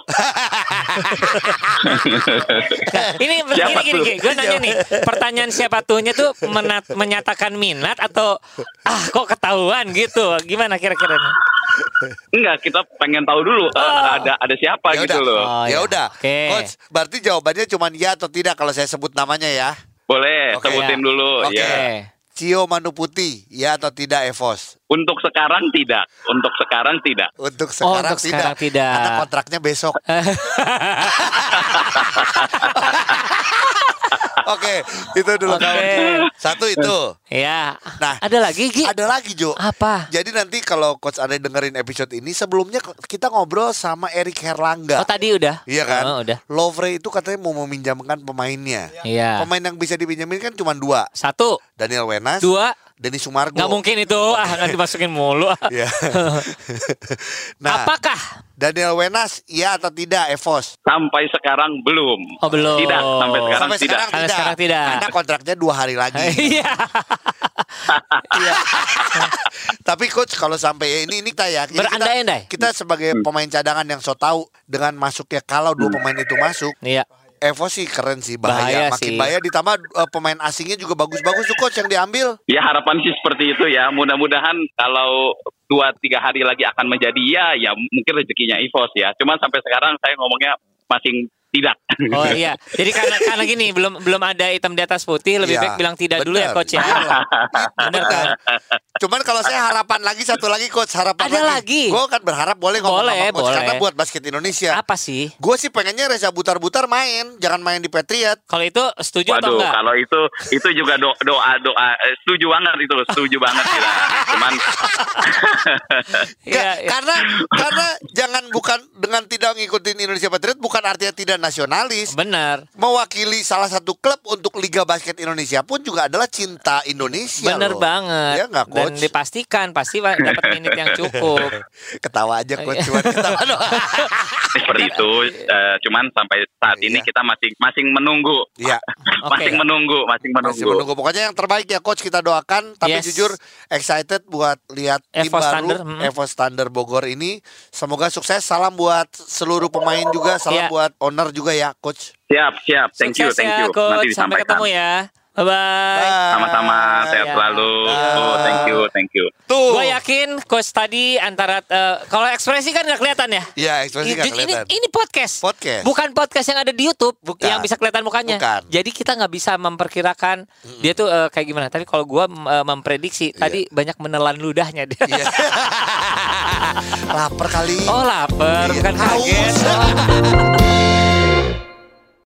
B: Ini
F: Siapa
B: gini gini,
F: tuh?
B: gue nanya nih, pertanyaan siapa tuhnya tuh menat- menyatakan minat atau ah kok ketahuan gitu? Gimana kira-kira? nih?
F: Enggak, kita pengen tahu dulu eh, ada ada siapa
A: Ya
F: gitu
A: udah.
F: loh.
B: Oh,
A: ya
B: iya.
A: udah.
B: Oke.
A: Coach, berarti jawabannya cuman ya atau tidak kalau saya sebut namanya ya.
F: Boleh,
A: Oke,
F: sebutin dulu
A: Oke.
F: ya.
A: Cio Manu Putih, ya atau tidak Evos?
F: Untuk sekarang tidak, untuk sekarang tidak.
A: Untuk sekarang,
B: Oh, untuk sekarang tidak.
A: Karena kontraknya besok. Oke, itu dulu
B: Oke.
A: kawan. Satu itu.
B: Ya.
A: Nah,
B: ada lagi Gi?
A: Ada lagi Jo.
B: Apa?
A: Jadi nanti kalau Coach Andre dengerin episode ini, sebelumnya kita ngobrol sama Erik Herlangga.
B: Oh tadi udah.
A: Iya kan?
B: Oh, udah.
A: Lovre itu katanya mau meminjamkan pemainnya.
B: Iya.
A: Pemain yang bisa dipinjamin kan cuma dua.
B: Satu,
A: Daniel Wenas,
B: dua,
A: Denis Sumargo.
B: nggak mungkin itu ah nggak dimasukin mulu. ah.
A: Iya. nah,
B: Apakah?
A: Daniel Wenas, ya atau tidak Evos?
F: Sampai sekarang belum.
B: Oh, belum.
F: Tidak, sampai sekarang
A: sampai sekarang
F: tidak.
B: Sampai
A: tidak.
B: sekarang tidak.
A: Karena kontraknya dua hari lagi.
B: Iya.
A: Iya. Tapi coach kalau sampai ini ini kita ya. ini
B: Berandai-andai.
A: Kita, kita sebagai
F: Hmm.
A: pemain cadangan yang so tahu dengan masuknya kalau dua pemain itu masuk,
B: Iya.
A: Evo sih keren sih bahaya,
B: Bahaya
A: makin
B: sih.
A: bahaya ditambah eh, pemain asingnya juga bagus-bagus tuh coach yang diambil.
F: Ya harapan sih seperti itu ya. Mudah-mudahan kalau dua tiga hari lagi akan menjadi ya, ya mungkin rezekinya Evos ya. Cuman sampai sekarang saya ngomongnya masing tidak.
B: Oh iya. Jadi karena karena gini belum belum ada hitam di atas putih lebih
A: Iya.
B: baik bilang tidak dulu ya
A: Bener.
B: coach ya.
A: Iya.
B: Bener kan?
A: Cuman kalau saya harapan lagi satu lagi coach, harapan
B: Ada lagi.
A: Gue kan berharap boleh ngomong
B: Boleh,
A: sama coach
B: boleh.
A: karena buat basket Indonesia.
B: Apa sih?
A: Gue sih pengennya Reza butar-butar main, jangan main di Patriot.
B: Kalau itu setuju
A: Iya,
B: atau
F: Waduh, kan.
B: enggak?
F: kalau itu itu juga do- doa doa eh, setuju banget itu, setuju banget kita. Cuman
B: Iya,
A: Nggak,
B: iya.
A: karena karena jangan bukan dengan tidak ngikutin Indonesia Patriot bukan artinya tidak nasionalis.
B: Benar.
A: Mewakili salah satu klub untuk Liga Basket Indonesia pun juga adalah cinta Indonesia.
B: Bener
A: loh.
B: banget.
A: Ya nggak
B: Dan
A: coach?
B: dipastikan pasti wa- dapat menit yang cukup.
A: Ketawa aja coach
B: Iya.
A: cuma ketawa doang.
F: seperti itu. eh, cuman sampai saat ini
A: Iya.
F: kita masing masing menunggu,
A: Iya,
F: masing menunggu, masing menunggu.
A: masih menunggu. Pokoknya yang terbaik ya coach kita doakan. Tapi
B: Yes.
A: jujur excited buat lihat tim
B: Evo
A: baru
B: Standard, mm.
A: Evo Standard Bogor ini. Semoga sukses. Salam buat seluruh pemain juga, salam
B: Iya.
A: buat owner juga ya coach.
F: Siap, siap. Thank you,
B: Sukses
F: thank
B: ya,
F: you. Nanti
B: coach. Sampai
F: disampaikan.
B: ketemu ya. Bye bye.
F: Sama-sama, sehat
B: Ya.
F: selalu. Oh,
B: Ah.
F: thank you, thank you.
A: Tuh.
B: Gue yakin coach tadi antara eh, kalau ekspresi kan nggak kelihatan ya.
A: Iya, ekspresi nggak
B: Ini-
A: kelihatan.
B: Ini, ini podcast.
A: Podcast.
B: Bukan podcast yang ada di YouTube
A: Bukan.
B: yang bisa kelihatan mukanya.
A: Bukan.
B: Jadi kita nggak bisa memperkirakan dia tuh eh, kayak gimana. Tapi kalau gua mm, eh, memprediksi tadi banyak menelan ludahnya dia.
A: Iya. Lapar kali.
B: Oh lapar, bukan
A: Iya. Haus.
B: kaget.